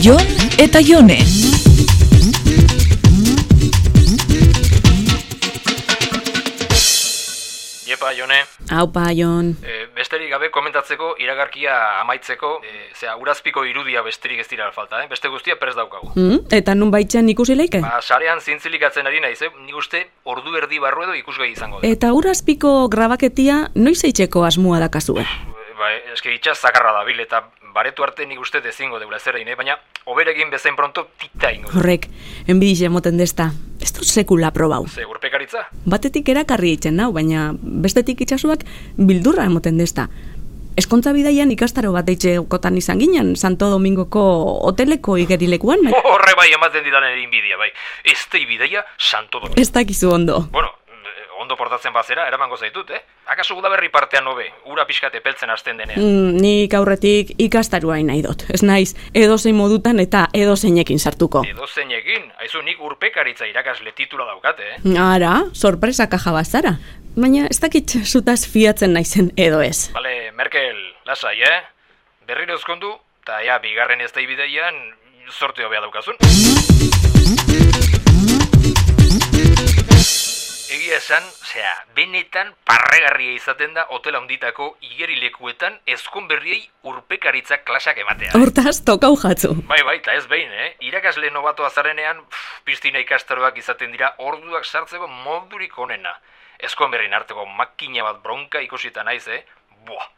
Jon eta Jone. Jepa, Jone, Aupa, Jon. e, besterik gabe komentatzeko iragarkia amaitzeko, e, zera, urazpiko irudia besterik ez dira falta, eh? beste guztia prez daukagu. Hmm? Eta nun baitzen ikusi leike? Ba, sarean zintzilikatzen ari naiz, eh? nik uste ordu erdi barru edo ikusgai izango da. Eta urazpiko grabaketia noiz eitzeko asmoa dakazue? E, ba, eske itxaz zakarra dabil eta baretu arte nik uste dezingo deula zer egin, eh? baina oberekin bezain pronto tita ingo. dut. Horrek, enbidiz emoten desta. Ez dut sekula probau. Ze urpekaritza? Batetik erakarri eitzen nau, baina bestetik itxasuak bildurra emoten desta. Eskontza bidaian ikastaro bat eitxe gotan izan ginen, Santo Domingoko hoteleko igerilekuan, baina Horre bai ematen didalen erin bidia, bai. Ez tei bideia santo domingo. ez dakizu ondo. Bueno, eh, ondo portatzen bazera, eramango zaitut, eh? Akaso gudaberri partean hobe, ura pixkate peltzen hasten denean. Mm, nik aurretik ikastarua nahi dut. Ez naiz, edozein modutan eta edozeinekin sartuko. Edo zeinekin, haizu nik urpekaritza irakasle titula daukate, eh? Ara, sorpresa kaja bazara. Baina ez dakit zutaz fiatzen naizen edo ez. Bale, Merkel, lasai, eh? Berriro ezkondu, eta ea, bigarren ez da ibideian, sorte hobea daukazun. Egia esan, zera, benetan parregarria izaten da hotela honditako igerilekuetan ezkon berriei urpekaritza klasak ematea. eh? Hortaz, tokau jatzu. Bai, bai, eta ez behin, eh? Irakasle nobatoa zarenean, pff, piztina ikastaroak izaten dira orduak sartzeko modurik onena. Ezkoen berrin arteko makina bat bronka ikusita naiz, eh? Buah,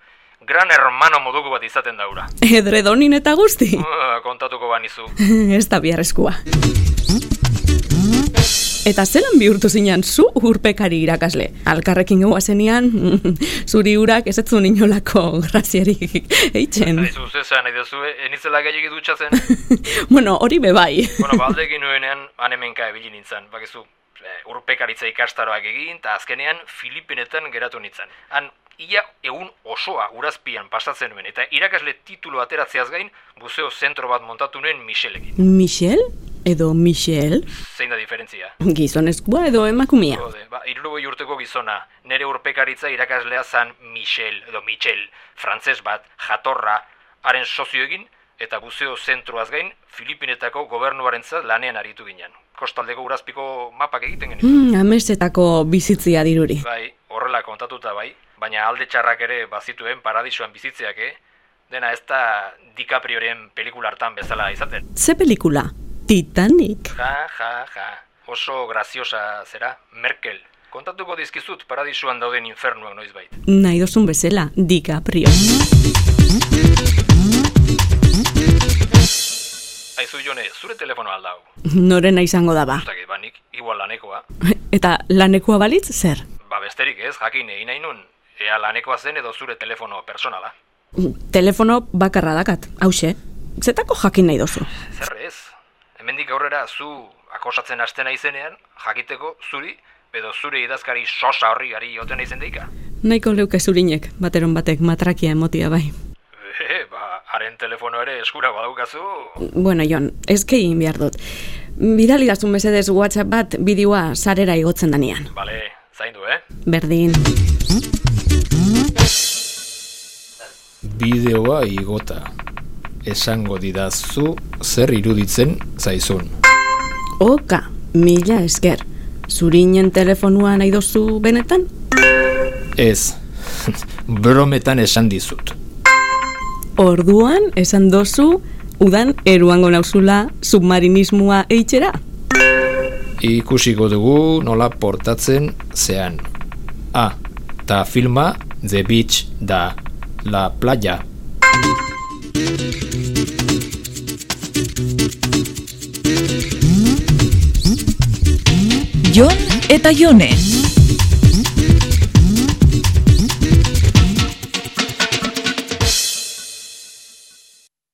gran hermano moduko bat izaten daura. Edredonin eta guzti. Ah, kontatuko banizu. ez da biharrezkoa. Eta zelan bihurtu zinan zu urpekari irakasle. Alkarrekin goa zenian, zuri urak ez etzun inolako graziarik eitzen. Aizu, zesa nahi duzu, eh? Enitzela gehiagi dutxatzen. bueno, hori bai. bebai. bueno, baldekin nuenean, anemenka ebili nintzen, bakizu. eh, Urpekaritza ikastaroak egin, eta azkenean Filipinetan geratu nintzen. Han, ia egun osoa urazpian pasatzen nuen, eta irakasle titulu ateratzeaz gain, buzeo zentro bat montatu nuen Michelekin. Michel? Edo Michel? Zein da diferentzia? Gizonezkoa edo emakumea. Jode, ba, irurogei urteko gizona, nere urpekaritza irakaslea zan Michel, edo Michel, frantses bat, jatorra, haren sozioekin, eta buzeo zentroaz gain, Filipinetako gobernuarentzat lanean aritu ginen. Kostaldeko urazpiko mapak egiten genituen. Mm, amesetako bizitzia diruri. Bai, horrela kontatuta bai, baina alde txarrak ere bazituen paradisuan bizitzeak, eh? Dena ez da DiCaprioren pelikula hartan bezala izaten. Ze pelikula? Titanic. Ja, ja, ja, oso graziosa zera, Merkel. Kontatuko dizkizut paradisuan dauden infernuak noizbait. Nahi dozun bezala, DiCaprio. Aizu jone, zure telefonoa aldau. Norena izango da ba. Zutake, banik, igual lanekoa. Eta lanekoa balitz, zer? Ba besterik ez, jakin egin nahi nun. Ea lanekoa zen edo zure telefono personala. Telefono bakarra dakat, hause. Zetako jakin nahi dozu. Zer ez? Hemendik aurrera zu akosatzen hasten naizenean, jakiteko zuri, edo zure idazkari sosa horri gari joten naizen deika. Nahiko leuke zurinek, bateron batek matrakia emotia bai. E, ba, haren telefono ere eskura badaukazu, Bueno, Jon, ezke egin behar dut. Bidali dazun mesedez WhatsApp bat bideoa sarera igotzen danean. bale, zaindu, eh? Berdin. Bideoa igota. Esango didazu zer iruditzen zaizun. Oka, mila esker. Zurinen telefonua nahi dozu benetan? Ez, brometan esan dizut. Orduan, esan dozu, udan eruango nauzula submarinismoa eitxera. Ikusiko dugu nola portatzen zean. A. Ta filma The Beach da La Playa. Jon eta Jone.